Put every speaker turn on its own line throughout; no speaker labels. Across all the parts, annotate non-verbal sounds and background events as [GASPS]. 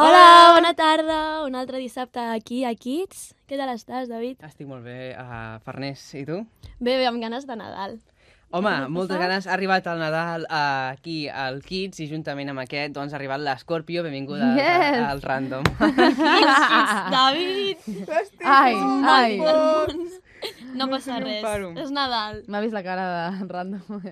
Bona tarda, un altre dissabte aquí a Kids. Què tal estàs, David?
Estic molt bé, uh, Farners, i tu?
Bé, bé, amb ganes de Nadal.
Home,
Què t'ha
moltes
passat?
ganes. Ha arribat el Nadal eh, aquí al Kids i juntament amb aquest doncs, ha arribat l'Escorpio, benvinguda al-
Yes!
al Random. [LAUGHS]
Ah. David!
Ai, ai.
[LAUGHS] No passa res,
paro.
és Nadal.
M'ha vist la cara de [LAUGHS] random.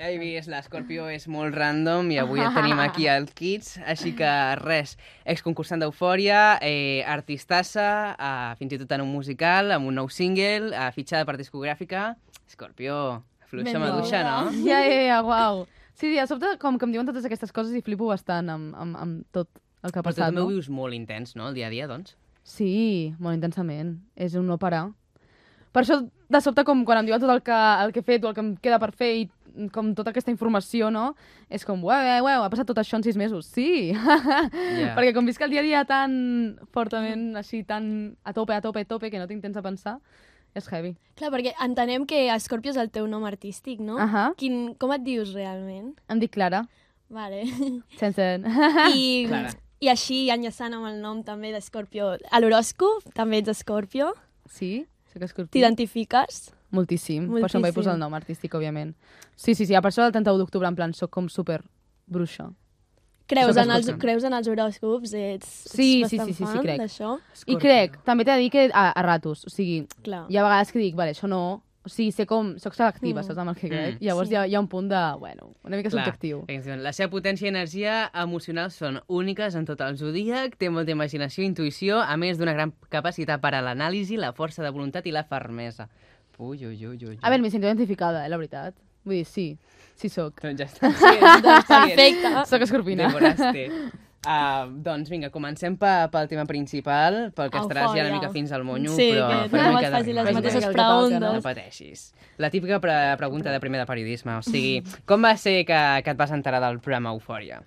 He vist, l'Escorpio és molt random i avui et tenim aquí al Kids, així que res, exconcursant d'Eufòria, eh, artistassa, eh, fins i tot en un musical, amb un nou single, eh, fitxada per discogràfica. Escorpio, fluixa
Benvinguda.
maduixa, no?
Ja, ja, ja, uau. Sí, sí, a sobte com que em diuen totes aquestes coses i flipo bastant amb, amb, amb tot el que ha
Però tu
passat,
també ho
no?
vius molt intens, no?, el dia a dia, doncs.
[GASPS] Sí, molt intensament. És un no parar. Per això, de sobte, com quan em diuen tot el que, el que he fet o el que em queda per fer i com tota aquesta informació, no? És com, uau, uau, uau, ha passat tot això en sis mesos.
[LAUGHS]
Sí! [LAUGHS]
Ja.
Perquè com visc el dia a dia tan fortament, així, tan a tope, a tope, a tope, que no tinc temps a pensar, és heavy.
Clar, perquè entenem que Escorpio és el teu nom artístic, no?
Ahà.
Quin, com et dius realment?
Em dic Clara,
Vale.
sense... [LAUGHS]
I,
Clara.
I així, enllaçant amb el nom també d'Escorpio, a l'horòscop també ets Escorpio,
Sí, sóc escorpí.
t'identifiques?
Moltíssim. Per això em vaig
Moltíssim.
posar el nom artístic, òbviament. Sí, sí, sí, a per això del 31 d'octubre, en plan, sóc com super bruixa.
Creus
Soc
en, els,
escorpio.
creus en els horòscops? Ets, ets
Sí, sí,
bastant
sí, sí, sí,
fan
crec.
d'això?
I crec, també t'he de dir que a, a ratos, o sigui,
Clar.
hi ha vegades que dic, vale, això no... O sigui, sé com... Soc selectiva,
Mm.
saps amb el que crec?
Mm.
Llavors
Sí.
hi, ha, hi ha un punt de, bueno, una mica subjectiu.
perquè ens diuen, La seva potència i energia emocional són úniques en tot el zodíac, té molta imaginació i intuïció, a més d'una gran capacitat per a l'anàlisi, la força de voluntat i la fermesa. Ui, ui, ui, ui. ui.
A veure, m'hi sento identificada, eh, la veritat. Vull dir, sí, sí sóc.
Doncs ja està. Sí, doncs,
Perfecte.
Soc escorpina.
Devoraste. Uh, doncs vinga, comencem pe pel tema principal, pel que estaràs ja
Eufòria.
una mica fins al monyo,
Sí,
però...
que
farem
no
una
et
mica de
faci les
ritme.
mateixes
Vinga, que toca,
preguntes.
No pateixis. La típica pre pregunta de primer de periodisme, o sigui, com va ser que, que et vas enterar del programa Eufòria?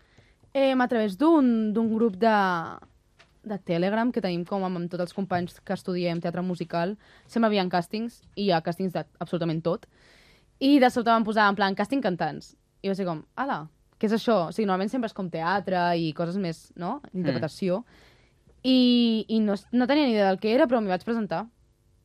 Eh, a través d'un d'un grup de, de Telegram que tenim com amb, amb tots els companys que estudiem teatre musical. Sempre hi havia càstings i hi ha càstings d'absolutament tot. I de sobte van posar en plan càsting cantants. I va ser com, ala, què és això? O sigui, normalment sempre és com teatre i coses més, no?,
Hmm.
d'interpretació. I, i no, no tenia ni idea del que era, però m'hi vaig presentar.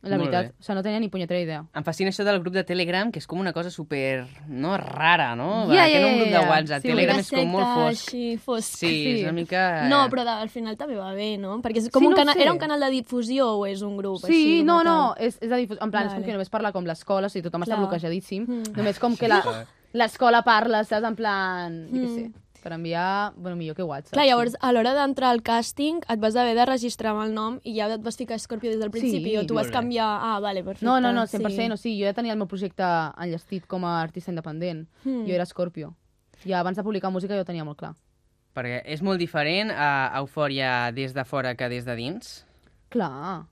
La
Molt
veritat.
bé.
O sigui, no tenia ni punyetera idea.
Em fascina això del grup de Telegram, que és com una cosa super... no, rara, no? Perquè
Ja, ja,
era un
ja,
grup
ja.
de WhatsApp.
Sí,
Telegram
Una
és com molt
secta
fosc.
Així, fosc.
Sí, és una mica...
No, però de, al final també va bé, no? Perquè és com
eh.
un
Sí, no ho
cana...
sé.
era un canal de difusió o és un grup? així,
Sí,
com
no,
a
no,
tal?
és, és de difus... En plan, és com
Vale.
que només parla com l'escola, o sigui, tothom està
Clar.
bloquejadíssim.
Mm.
Només com que la-
Sí,
l'escola parla, saps? En plan, jo què
Mm.
sé, per enviar... Bueno, millor que WhatsApp.
Clar, llavors, a l'hora d'entrar al càsting, et vas haver de registrar amb el nom i ja et vas ficar Scorpio des del principi
Sí,
o tu vas
molt bé.
canviar... Ah, vale, perfecte.
No, no, no, 100%, sí. o sigui, jo ja tenia el meu projecte enllestit com a artista independent.
Mm.
Jo era Scorpio. Ja abans de publicar música jo ho tenia molt clar.
Perquè és molt diferent a Eufòria des de fora que des de dins.
Clar,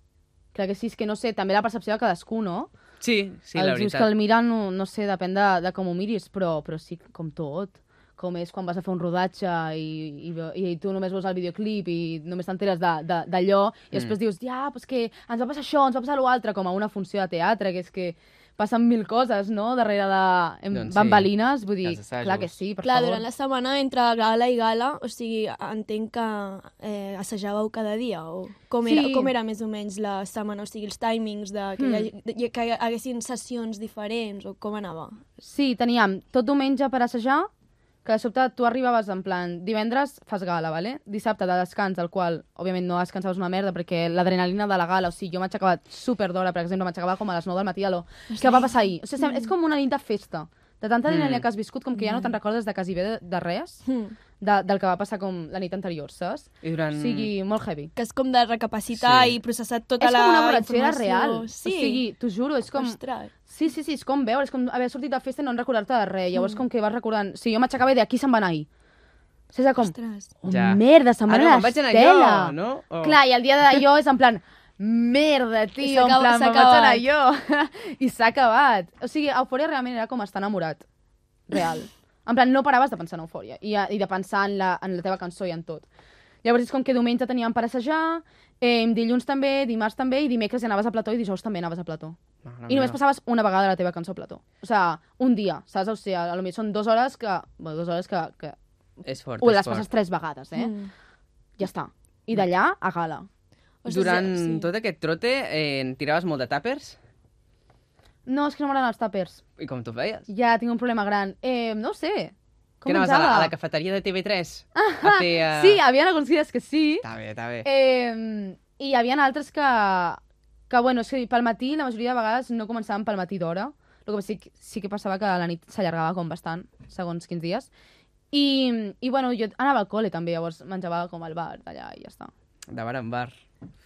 clar que sí, és que no sé, també la percepció de cadascú, no?
Sí, sí,
els
la
ulls
veritat.
que el miren, no, no sé, depèn de, de com ho miris, però, però sí, com tot. Com és quan vas a fer un rodatge i, i, ve- i tu només veus el videoclip i només t'enteres de- de- d'allò de,
Mm.
i després dius, ja, però és que ens va passar això, ens va passar l'altre, com a una funció de teatre, que és que passen mil coses, no?, darrere de em,
Doncs sí,
bambalines, vull dir,
els assajos.
clar que sí, per
Clar,
favor.
durant la setmana, entre gala i gala, o sigui, entenc que eh, assajàveu cada dia, o com, era,
Sí. Hmm.
com era més o menys la setmana, o sigui, els timings, de, que, mm. hi, ha- que hi haguessin sessions diferents, o com anava?
Sí, teníem tot diumenge per assajar, que de sobte tu arribaves en plan, divendres fas gala, vale? dissabte de descans, del qual, òbviament, no descansaves una merda, perquè l'adrenalina de la gala, o sigui, jo m'aixecava super d'hora, per exemple, m'aixecava com a les 9 del matí, a lo que va passar ahir. O sigui,
Mm.
sem- és com una nit de festa, de tanta adrenalina que has viscut, com que ja no te'n recordes de quasi bé de, de res,
Mm.
de, del que va passar com la nit anterior, saps?
I durant...
O sigui, molt heavy.
que és com de recapacitar
Sí.
sí. i processar tota
És
la
com una borratxera
informació.
real.
Sí.
O sigui, t'ho juro, és com...
Ostres.
Sí, sí, sí, és com veure, és com haver sortit de festa i no en recordar-te de res.
Mm.
Llavors, com que vas recordant... Si jo m'aixecava i de aquí se'n va anar ahir. Saps de com?
Ostres.
Oh,
Ja.
merda, se'n va
Ah, no,
anar
me'n vaig anar
l'Estela.
jo, no? Oh.
Clar, i el dia d'allò és en plan... Merda, tio, en
s'acaba-
plan,
s'ha
me'n vaig anar jo. [LAUGHS] I s'ha acabat. O sigui, Eufòria realment era com estar enamorat. Real. En plan, no paraves de pensar en Eufòria i, eh, i de pensar en la, en la teva cançó i en tot. Llavors és com que diumenge teníem per assajar, eh, dilluns també, dimarts també, i dimecres ja anaves a plató i dijous també anaves a plató.
Mare
I només
meva.
passaves una vegada la teva cançó a plató. O sigui, un dia, saps? O sigui, a lo millor són dues hores que... Bueno, dues hores que... que...
És fort,
O
és
les
fort.
Hmm.
passes tres vegades, eh? Mm. eh? Ja està. I d'allà a gala.
Ostres,
Durant
sí.
tot aquest trote eh, en tiraves molt de tàpers?
No, és que no m'agraden els tàpers.
I com t'ho feies?
Ja tinc un problema gran. Eh, no ho sé. Com
que anaves a la,
menjava?
a la cafeteria de TV3? Ah, a fer, eh,
Sí, hi havia alguns dies que sí.
Està bé, està bé.
Eh, I hi havia altres que, que, bueno, sí, pel matí la majoria de vegades no començaven pel matí d'hora. El que sí, que- sí que passava que la nit s'allargava com bastant, segons quins dies. I, I, bueno, jo anava al col·le també, llavors menjava com al bar d'allà i ja està.
De bar en bar.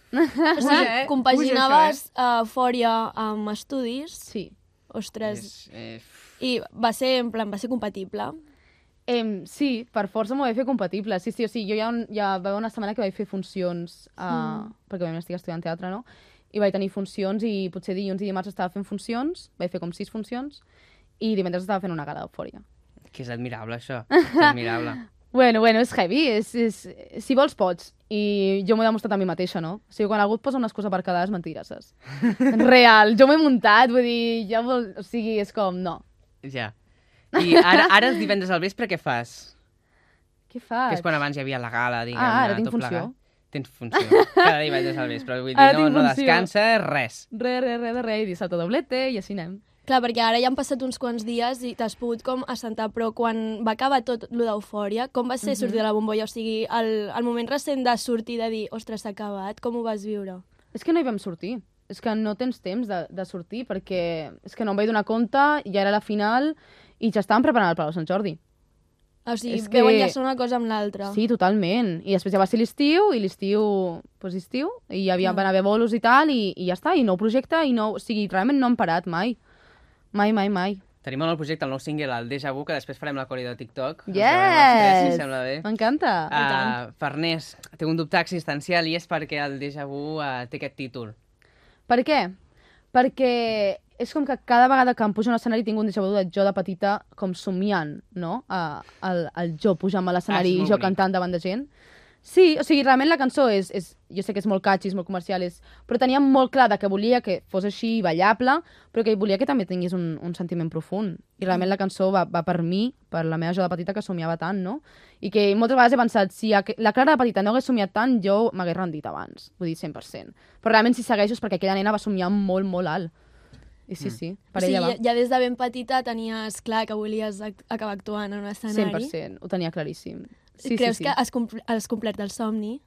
O sigui,
Puja, eh?
compaginaves eh, eufòria amb estudis.
Sí.
Ostres.
És, eh, f-
I va ser, en plan, va ser compatible.
Em, sí, per força m'ho vaig fer compatible. Sí, sí, o sigui, jo ja, un, ja va haver una setmana que vaig fer funcions, uh, mm. perquè vam estic estudiant teatre, no? I vaig tenir funcions i potser dilluns i dimarts estava fent funcions, vaig fer com sis funcions, i divendres estava fent una gala d'eufòria.
que és admirable,
[LAUGHS]
això. És admirable.
Bueno, bueno, és heavy, és, és, si vols pots. I jo m'ho he demostrat a mi mateixa, no? O sigui, quan algú et posa una excusa per quedar és
[LAUGHS]
mentira, saps? Real, jo m'he muntat, vull dir, ja vol... O sigui, és com, no.
Ja. I ara, ara els divendres al vespre què fas?
Què fas?
Que és quan abans hi havia la gala, diguem-ne,
Ah, ara tinc
tot plegat.
funció.
Tens funció. Cada divendres al vespre. Vull dir,
Ara
no,
tinc
no
funció.
descanses, res.
Re, re, re, de re, i dissabte doblete, i així anem.
Clar, perquè ara ja han passat uns quants dies i t'has pogut com assentar, però quan va acabar tot lo d'eufòria, com va ser
Mhm.
sortir de la bombolla? O sigui, el, el moment recent de sortir, de dir, ostres, s'ha acabat, com ho vas viure?
És que no hi vam sortir. És que no tens temps de, de sortir perquè és que no em vaig donar compte, ja era la final i ja estàvem preparant el Palau Sant Jordi.
O sigui,
És
que... veuen
que-
ja una cosa amb l'altra.
Sí, totalment. I després ja va ser l'estiu i l'estiu, doncs estiu, i hi havia, van haver bolos i tal i, i ja està, i nou projecte i nou... O sigui, realment no hem parat mai. Mai, mai, mai.
Tenim en el projecte el nou single, el Deja Vu, que després farem la coreo de TikTok. Ens veurem els tres, si
Yes! Doncs
sembla bé.
M'encanta.
Uh, Farners, té un dubte existencial i és perquè el Deja Vu uh, té aquest títol.
Per què? Perquè és com que cada vegada que em pujo a un escenari tinc un déjà vu de jo de petita com somiant, no? A, el, el jo pujant a l'escenari
Ah, és
i
molt
jo
bonic.
cantant davant de gent. Sí, o sigui, realment la cançó és, és... Jo sé que és molt catxi, és molt comercial, és, però tenia molt clar de que volia que fos així, ballable, però que volia que també tingués un, un sentiment profund. I
Mm.
realment la cançó va, va per mi, per la meva jo de petita que somiava tant, no? I que moltes vegades he pensat, si aqu- la Clara de petita no hagués somiat tant, jo m'hagués rendit abans, vull dir 100%. Però realment si segueixo és perquè aquella nena va somiar molt, molt alt. I sí, sí,
Mm.
per
o sigui,
ella va.
ja, ja des de ben petita tenies clar que volies ac- acabar actuant en un escenari.
100%, ho tenia claríssim. Sí,
Creus
sí, sí.
que has, compl has complert el somni?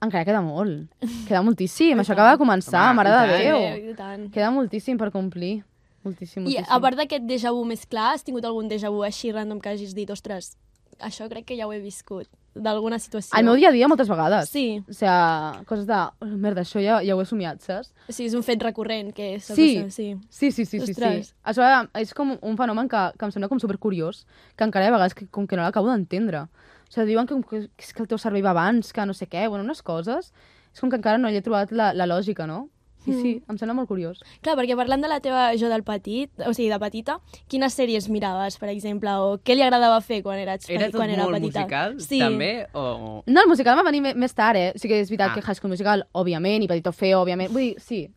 Encara queda
[LAUGHS]
molt. Queda moltíssim. Això acaba de començar,
Home,
mare
i
de
tant.
Déu.
Eh, I tant.
Queda moltíssim per complir. Moltíssim,
I
moltíssim.
a part d'aquest déjà vu més clar, has tingut algun déjà vu així random que hagis dit, ostres, això crec que ja ho he viscut, d'alguna situació?
Al meu dia a dia moltes vegades.
Sí.
O sigui, coses de... "Oh, Merda, això ja, ja ho he somiat, saps?
O sigui, és un fet recurrent que és...
Sí.
sí.
Sí, sí, sí, sí, sí.
Ostres.
Això és com un fenomen que, que em sembla com supercuriós, que encara hi ha vegades que, com que no l'acabo d'entendre. O sigui, diuen que, que, és que el teu cervell va abans, que no sé què, bueno, unes coses... És com que encara no hi he trobat la, la lògica, no? I
Mm.
sí, em sembla molt curiós.
Clar, perquè parlant de la teva jo del petit, o sigui, de petita, quines sèries miraves, per exemple, o què li agradava fer quan, eres,
Era
peti-
tot
quan era
molt
petita?
musical,
sí.
també? O... o-
No, el musical va venir me- més tard, eh? O sigui, és veritat
Ah.
ah. que High School Musical, òbviament, i Petit Feo, òbviament. Vull dir, sí,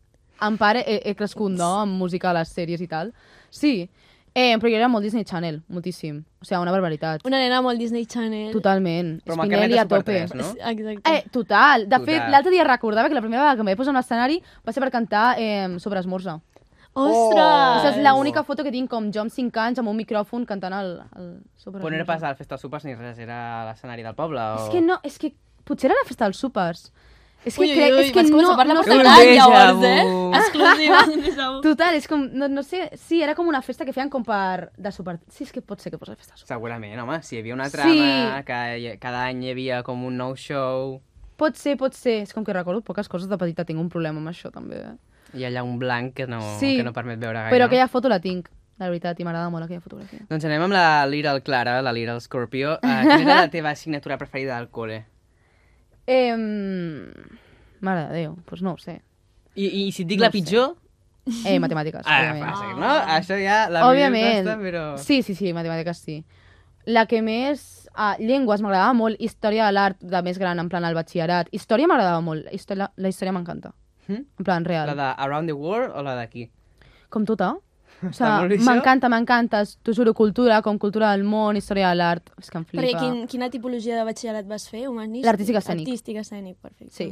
en part he, he crescut, no?, amb música a les sèries i tal. Sí, eh, però jo era molt Disney Channel, moltíssim. O sigui, una barbaritat.
Una nena molt Disney Channel.
Totalment.
Però amb el carnet
Spinelli
de
a tope.
Super3, no?
Exacte.
Eh, total. De fet,
Total.
l'altre dia recordava que la primera vegada que em vaig posar en un escenari va ser per cantar eh, sobre esmorza.
Ostres!
Esa és l'única foto que tinc com jo amb 5 anys amb un micròfon cantant el, el sobre
Però no era pas a la festa dels sopars ni res, era a l'escenari del poble o...
És que no, és que potser era la festa dels súpers. És que
Ui, ui,
crec,
ui,
és que
vas
no...
començar a parlar
no
per
Un
tant,
déjà
llavors, eh?
vu.
[LAUGHS]
[LAUGHS]
Exclusiva, un déjà vu.
Total, és com, no, no sé, sí, era com una festa que feien com per... De super... Sí, és que pot ser que fos la festa de súpers.
Segurament, home, si hi havia una
Sí.
trama, que hi- cada any hi havia com un nou show,
Pot ser, pot ser. És com que recordo poques coses de petita, tinc un problema amb això, també. Eh?
i allà un blanc que no,
Sí.
que no permet veure gaire.
Però
no?
aquella foto la tinc, la veritat, i m'agrada molt aquella fotografia.
Doncs anem amb la Little Clara, la Little
[LAUGHS]
Scorpio. Uh, quina era la teva assignatura preferida del col·le?
Eh, mare de Déu, doncs no ho sé.
I, i si et dic
No
la
ho sé.
pitjor...
Eh,
[LAUGHS]
matemàtiques,
Ah,
òbviament.
fàcil, no? Això ja la
Òbviament.
millor costa, però...
Sí, sí, sí, matemàtiques sí. La que més... Ah, llengües m'agradava molt, història de l'art de més gran, en plan al batxillerat. Història m'agradava molt, història, la història m'encanta.
Hm?
En plan, real.
[LAUGHS] La de Around the World o la d'aquí?
Com tota? O sigui, m'encanta, m'encanta, t'ho juro, cultura, com cultura del món, història de l'art, és que em flipa.
Perquè quin, quina tipologia de batxillerat vas fer? Humanístic?
L'artístic escènic.
Artístic escènic, perfecte.
Sí.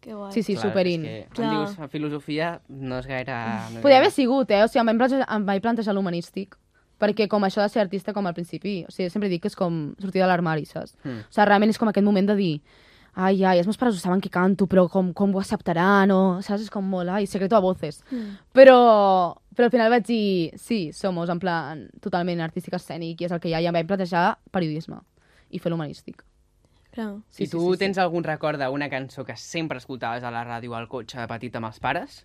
Que guai.
Sí, sí, superin.
És que,
Clar.
em dius, filosofia no és gaire... No és
Podria
gaire-
haver sigut, eh? O sigui, em vaig plantejar, em vaig plantejar l'humanístic, perquè com això de ser artista com al principi, o sigui, sempre dic que és com sortir de l'armari, saps? Mm. O sigui, realment és com aquest moment de dir ai, ai, els meus pares ho saben que canto, però com, com ho acceptaran, o, saps? És com molt, ai, secreto a voces. Mm. Però, però al final vaig dir, sí, somos en plan totalment artístic escènic i és el que hi ha, i em vaig plantejar periodisme i fer l'humanístic.
Clar.
Si tu tens algun record d'una cançó que sempre escoltaves a la ràdio o al cotxe de petit amb els pares,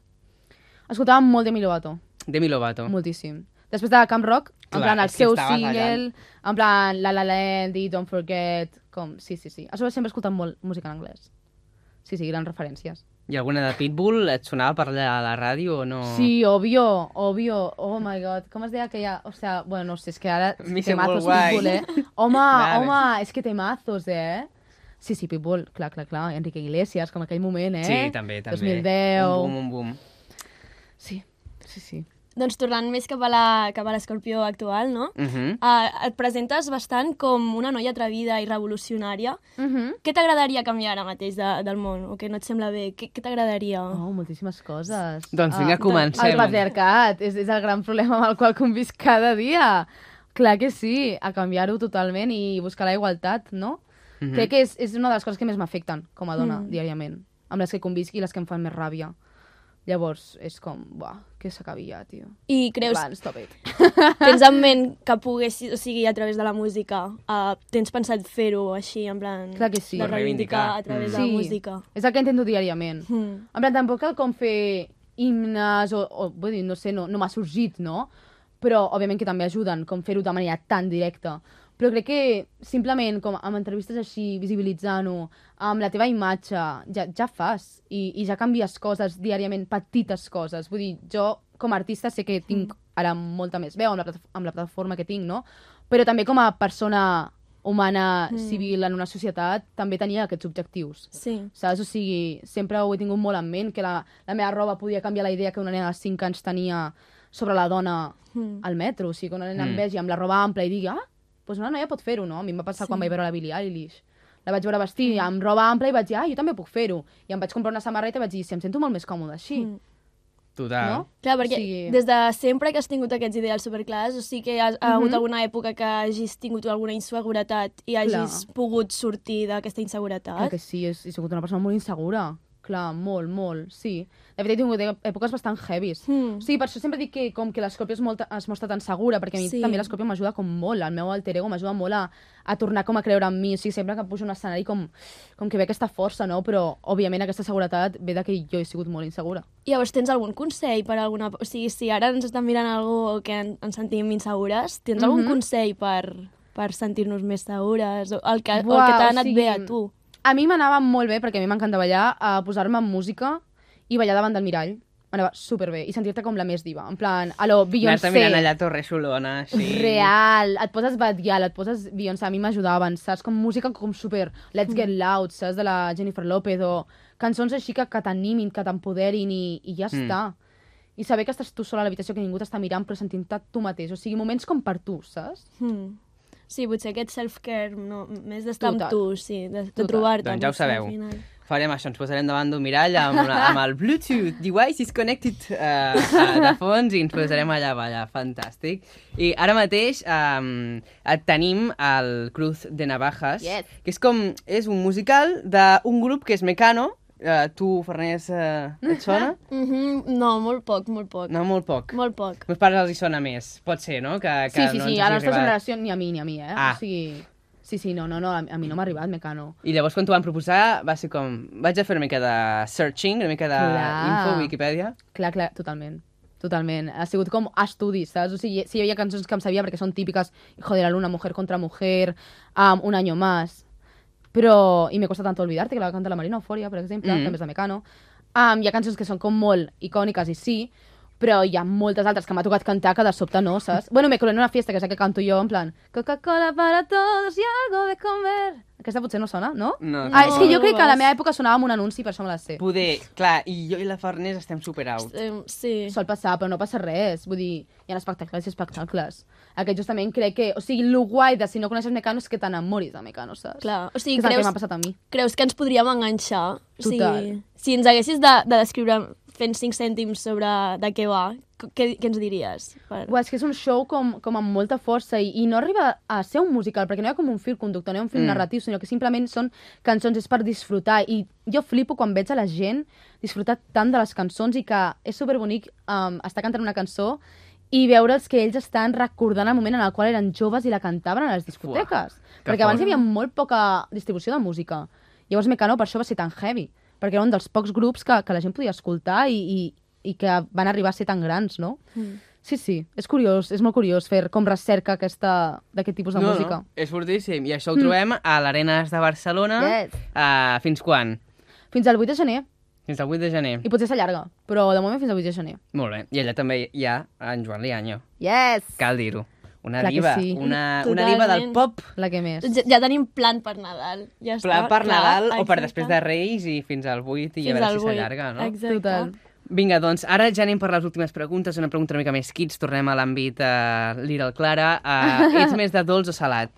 Escoltava molt Demi Lovato.
Demi Lovato.
Moltíssim. Després de Camp Rock, en
Clar,
plan el
és que
seu
estaves
single, en plan La La Land i Don't Forget, com... Sí, sí, sí. A sobre sempre he escoltat molt música en anglès. Sí, sí, grans referències.
I alguna de Pitbull et sonava per allà a la ràdio o no?
Sí, obvio, obvio. Oh my god, com es deia aquella... O sea, bueno, no sé, és que
[LAUGHS]
ara...
Mission
temazos,
Worldwide.
Pitbull, eh?
[LAUGHS]
Home,
Claro.
home, és que temazos, eh? Sí, sí, Pitbull, clar, clar, clar. Enrique Iglesias, com aquell moment, eh?
Sí, també, també.
2010.
Un boom, un boom.
Sí, sí, sí.
Doncs tornant més cap a la- cap a l'escorpió actual, no?
Uh -huh.
Uh, et presentes bastant com una noia atrevida i revolucionària.
Uh -huh.
Què t'agradaria canviar ara mateix de, del món? O que no et sembla bé? Què, què t'agradaria?
Oh, moltíssimes coses.
Doncs
Ah,
vinga, comencem.
El patriarcat és, és el gran problema amb el qual convisc cada dia. Clar que sí, a canviar-ho totalment i buscar la igualtat, no? Mm -hmm. Crec que és, és una de les coses que més m'afecten com a dona mm. diàriament, amb les que convisc i les que em fan més ràbia. Llavors, és com, buah, que s'acabi ja, tio.
I creus,
Va, stop it.
[LAUGHS] tens en ment que poguessis, o sigui, a través de la música, uh, tens pensat fer-ho així, en plan...
Clar que sí.
De reivindicar a
Reivindicar.
través
Mm.
de la música.
És el que intento
[LAUGHS]
diàriament. Mm.
Mm.
En plan, tampoc cal com fer himnes o, o vull dir, no sé, no, no m'ha sorgit, no? Però, òbviament, que també ajuden, com fer-ho de manera tan directa. Però crec que simplement, com amb entrevistes així, visibilitzant-ho, amb la teva imatge, ja, ja fas. I, I ja canvies coses diàriament, petites coses. Vull dir, jo, com a artista, sé que tinc ara molta més veu amb la, plata- amb la plataforma que tinc, no? Però també com a persona humana, civil, en una societat, també tenia aquests objectius.
Sí.
Saps? O sigui, sempre ho he tingut molt en ment, que la, la meva roba podia canviar la idea que una nena de 5 anys tenia sobre la dona mm. al metro. O sigui, que una nena mm. em vegi amb la roba ampla i digui, ah, doncs una noia pot fer-ho, no? A mi em va passar sí. quan vaig veure la Billie Eilish. La vaig veure vestir mm. amb roba ampla i vaig dir, ah, jo també puc fer-ho. I em vaig comprar una samarreta i vaig dir, si em sento molt més còmode així, mm.
Total.
no?
Clar, perquè
O
sí.
sigui-
des de sempre que has tingut aquests ideals superclars, o sigui que has, ha
Mhm.
hagut alguna època que hagis tingut alguna inseguretat i hagis pogut sortir d'aquesta
Clar
inseguretat.
que sí, és, he sigut una persona molt insegura. Clar, molt, molt, sí. De fet, he tingut èpoques bastant heavies.
Mm.
Sí, per això sempre dic que com que l'escorpió es, molt, es mostra tan segura, perquè a mi
Sí.
sí. també l'escorpió m'ajuda com molt, el meu alter ego m'ajuda molt a, a tornar com a creure en mi, o sigui, sempre que em pujo a un escenari com, com que ve aquesta força, no? Però, òbviament, aquesta seguretat ve de que jo he sigut molt insegura.
Llavors, tens algun consell per a alguna... O sigui, si ara ens estan mirant algú o que en, ens sentim insegures, tens algun
Mhm.
consell per, per sentir-nos més segures? O el que, o el
Buah,
que t'ha
o
anat
sigui,
bé a tu?
A mi m'anava molt bé, perquè a mi m'encanta ballar, a posar-me en música i ballar davant del mirall. M'anava superbé. I sentir-te com la més diva. En plan, a lo Beyoncé.
Anar-te mirant allà a Torre Xulona, així.
Real, et poses Badial, et poses Beyoncé, a mi m'ajudaven, saps? Com música com super Let's Get
Mm.
Loud, saps? De la Jennifer López o cançons així que, que t'animin, que t'empoderin i, i ja
Mm.
mm. està. I saber que estàs tu sola a l'habitació, que ningú t'està mirant, però sentint-te tu mateix. O sigui, moments com per tu, saps?
Hmm. Sí, potser aquest self-care, no, més d'estar amb
Total.
tu, sí, de, de
Total.
trobar-te.
Doncs ja ho
potser, al
sabeu.
final.
Farem això, ens posarem davant d'un mirall amb, una, amb el Bluetooth device is connected uh, de fons i ens posarem allà a ballar, fantàstic. I ara mateix um, tenim el Cruz de Navajas,
Yes.
que és com és un musical d'un grup que és Mecano. Uh, tu, Farners, uh, et sona?
Mhm, No, molt poc, molt poc.
No, molt poc.
Molt poc.
Meus pares els hi sona més, pot ser, no? Que, que
sí, sí,
no ens
sí, a
hagi
la nostra
arribat.
generació ni a mi, ni a mi, eh?
Ah.
O sigui, sí, sí, no, no, no, a, a mi no m'ha arribat, Mecano.
I llavors quan t'ho van proposar va ser com... Vaig a fer una mica de searching, una mica
Clar.
d'info, Wikipedia.
Clar, clar, totalment. Totalment. Ha sigut com estudis, saps? O sigui, sí, hi havia cançons que em sabia perquè són típiques, joder, una mujer contra mujer, um, un año más. Però, i me costa tanto olvidar-te, que la canta la Marina Eufòria, per exemple,
Mhm.
mm. també és de Mecano. Um, hi ha cançons que són com molt icòniques i sí, però hi ha moltes altres que m'ha tocat cantar que de sobte no, saps? Bueno, me colé en una fiesta, que és la que canto jo, en plan, Coca-Cola para todos y algo de comer. Aquesta potser no sona, no?
No,
Ah, és que
Mm. No, no
jo crec que a la
vas.
meva època sonava amb un anunci, per això me la sé.
Poder, clar, i jo i la Farners estem super out.
Eh, sí.
Sol passar, però no passa res. Vull dir, hi ha espectacles i espectacles. Aquest justament crec que... O sigui, el guai de si no coneixes Mecano és que t'enamoris de Mecano, saps?
Clar, o
Que
sigui,
és el que
creus,
m'ha passat a mi.
creus que ens podríem enganxar? O sigui,
Total.
si ens haguessis de, de descriure fent cinc cèntims sobre de què va, c- què, què ens diries? Per...
Uà, és que és un show com, com amb molta força i, i no arriba a ser un musical, perquè no hi ha com un fil conductor, no hi ha un fil
Mm.
mm. narratiu, sinó que simplement són cançons, és per disfrutar. I jo flipo quan veig a la gent disfrutar tant de les cançons i que és superbonic um, estar cantant una cançó i veure'ls que ells estan recordant el moment en el qual eren joves i la cantaven a les discoteques.
que
perquè
fort.
abans hi havia molt poca distribució de música. Llavors Mecano per això va ser tan heavy, perquè era un dels pocs grups que, que la gent podia escoltar i, i, i que van arribar a ser tan grans, no?
Mm.
Sí, sí, és curiós, és molt curiós fer com recerca aquesta d'aquest tipus de
no,
música.
No, és fortíssim. I això ho trobem mm. a l'Arenas de Barcelona.
Yes.
Uh, fins quan?
Fins al 8 de gener,
Fins al 8 de gener.
i potser s'allarga, però de moment fins al 8 de gener.
Molt bé. I allà també hi ha en Joan Lianyo.
Yes!
Cal dir-ho. Una
Clar que
diva.
sí.
Una, una
Totalment.
diva del pop.
La que més.
Doncs Ja, ja tenim plan per Nadal. Ja
Pla
està,
per
clar,
Nadal o per
exacte.
després de Reis i fins al 8 i
Fins
a veure
al
si
vuit,
s'allarga, no?
Exacte.
Total.
Vinga, doncs, ara ja anem per les últimes preguntes. Una pregunta una mica més kids. Tornem a l'àmbit uh, Little Clara.
[LAUGHS]
Uh, ets més de dolç o salat?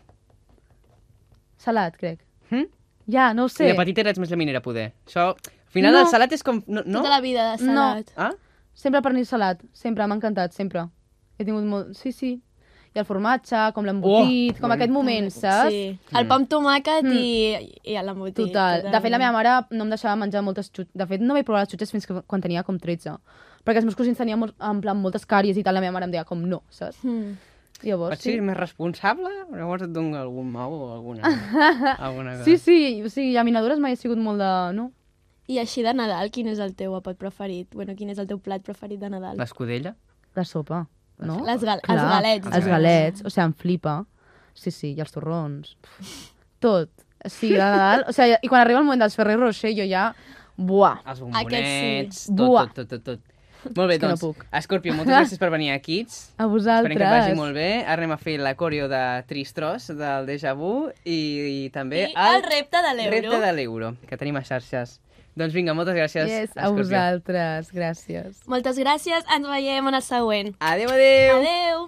Salat, crec.
Hm?
Ja, no ho
Sí.
sé.
De petita eres més la minera, poder. Això, al final,
No.
el salat és com... No? no?
Tota la vida de
No.
salat.
Ah?
Sempre pernil salat, sempre, m'ha encantat, sempre. He tingut molt... Sí, sí. I el formatge, com l'embotit,
Oh,
com
bueno.
aquest moment, saps?
Sí. El pa amb tomàquet mm. i, i l'embotit.
Total.
tota.
De fet, la meva mare no em deixava menjar moltes xutxes. De fet, no vaig provar les xutxes fins que, quan tenia com 13. Perquè els meus cosins tenien molt, en plan moltes càries i tal, la meva mare em deia com no, saps?
Mm.
Llavors,
Pot ser
Oh, sí.
més responsable? Llavors et dono algun mau o
[LAUGHS]
alguna, alguna cosa.
Sí, sí, o sigui, llaminadures mai he sigut molt de... No?
I així de Nadal, quin és el teu àpat preferit? Bueno, quin és el teu plat preferit de Nadal?
L'escudella?
De sopa, no?
Les gal
Clar,
els galets.
Els galets, o sigui, em flipa. Sí, sí, i els torrons. Tot. Sí, de Nadal. O sigui, i quan arriba el moment dels Ferrer Rocher, jo ja... Buah.
Els
Aquests
bombonets,
sí.
tot,
Buah.
tot, tot, tot, tot. Molt bé,
És que no
doncs,
puc.
Escorpio, moltes
[LAUGHS]
gràcies per venir a Kids.
A
Esperem
vosaltres.
que et vagi molt bé. Ara anem a fer la coreo de Tristros, del Deja Vu, i, i també
I el repte de l'euro.
repte de l'euro, que tenim a xarxes. Doncs vinga, moltes gràcies,
Yes, a
Escorpio.
vosaltres. Gràcies.
Moltes gràcies, ens veiem en el següent.
Adéu, adéu!
Adeu!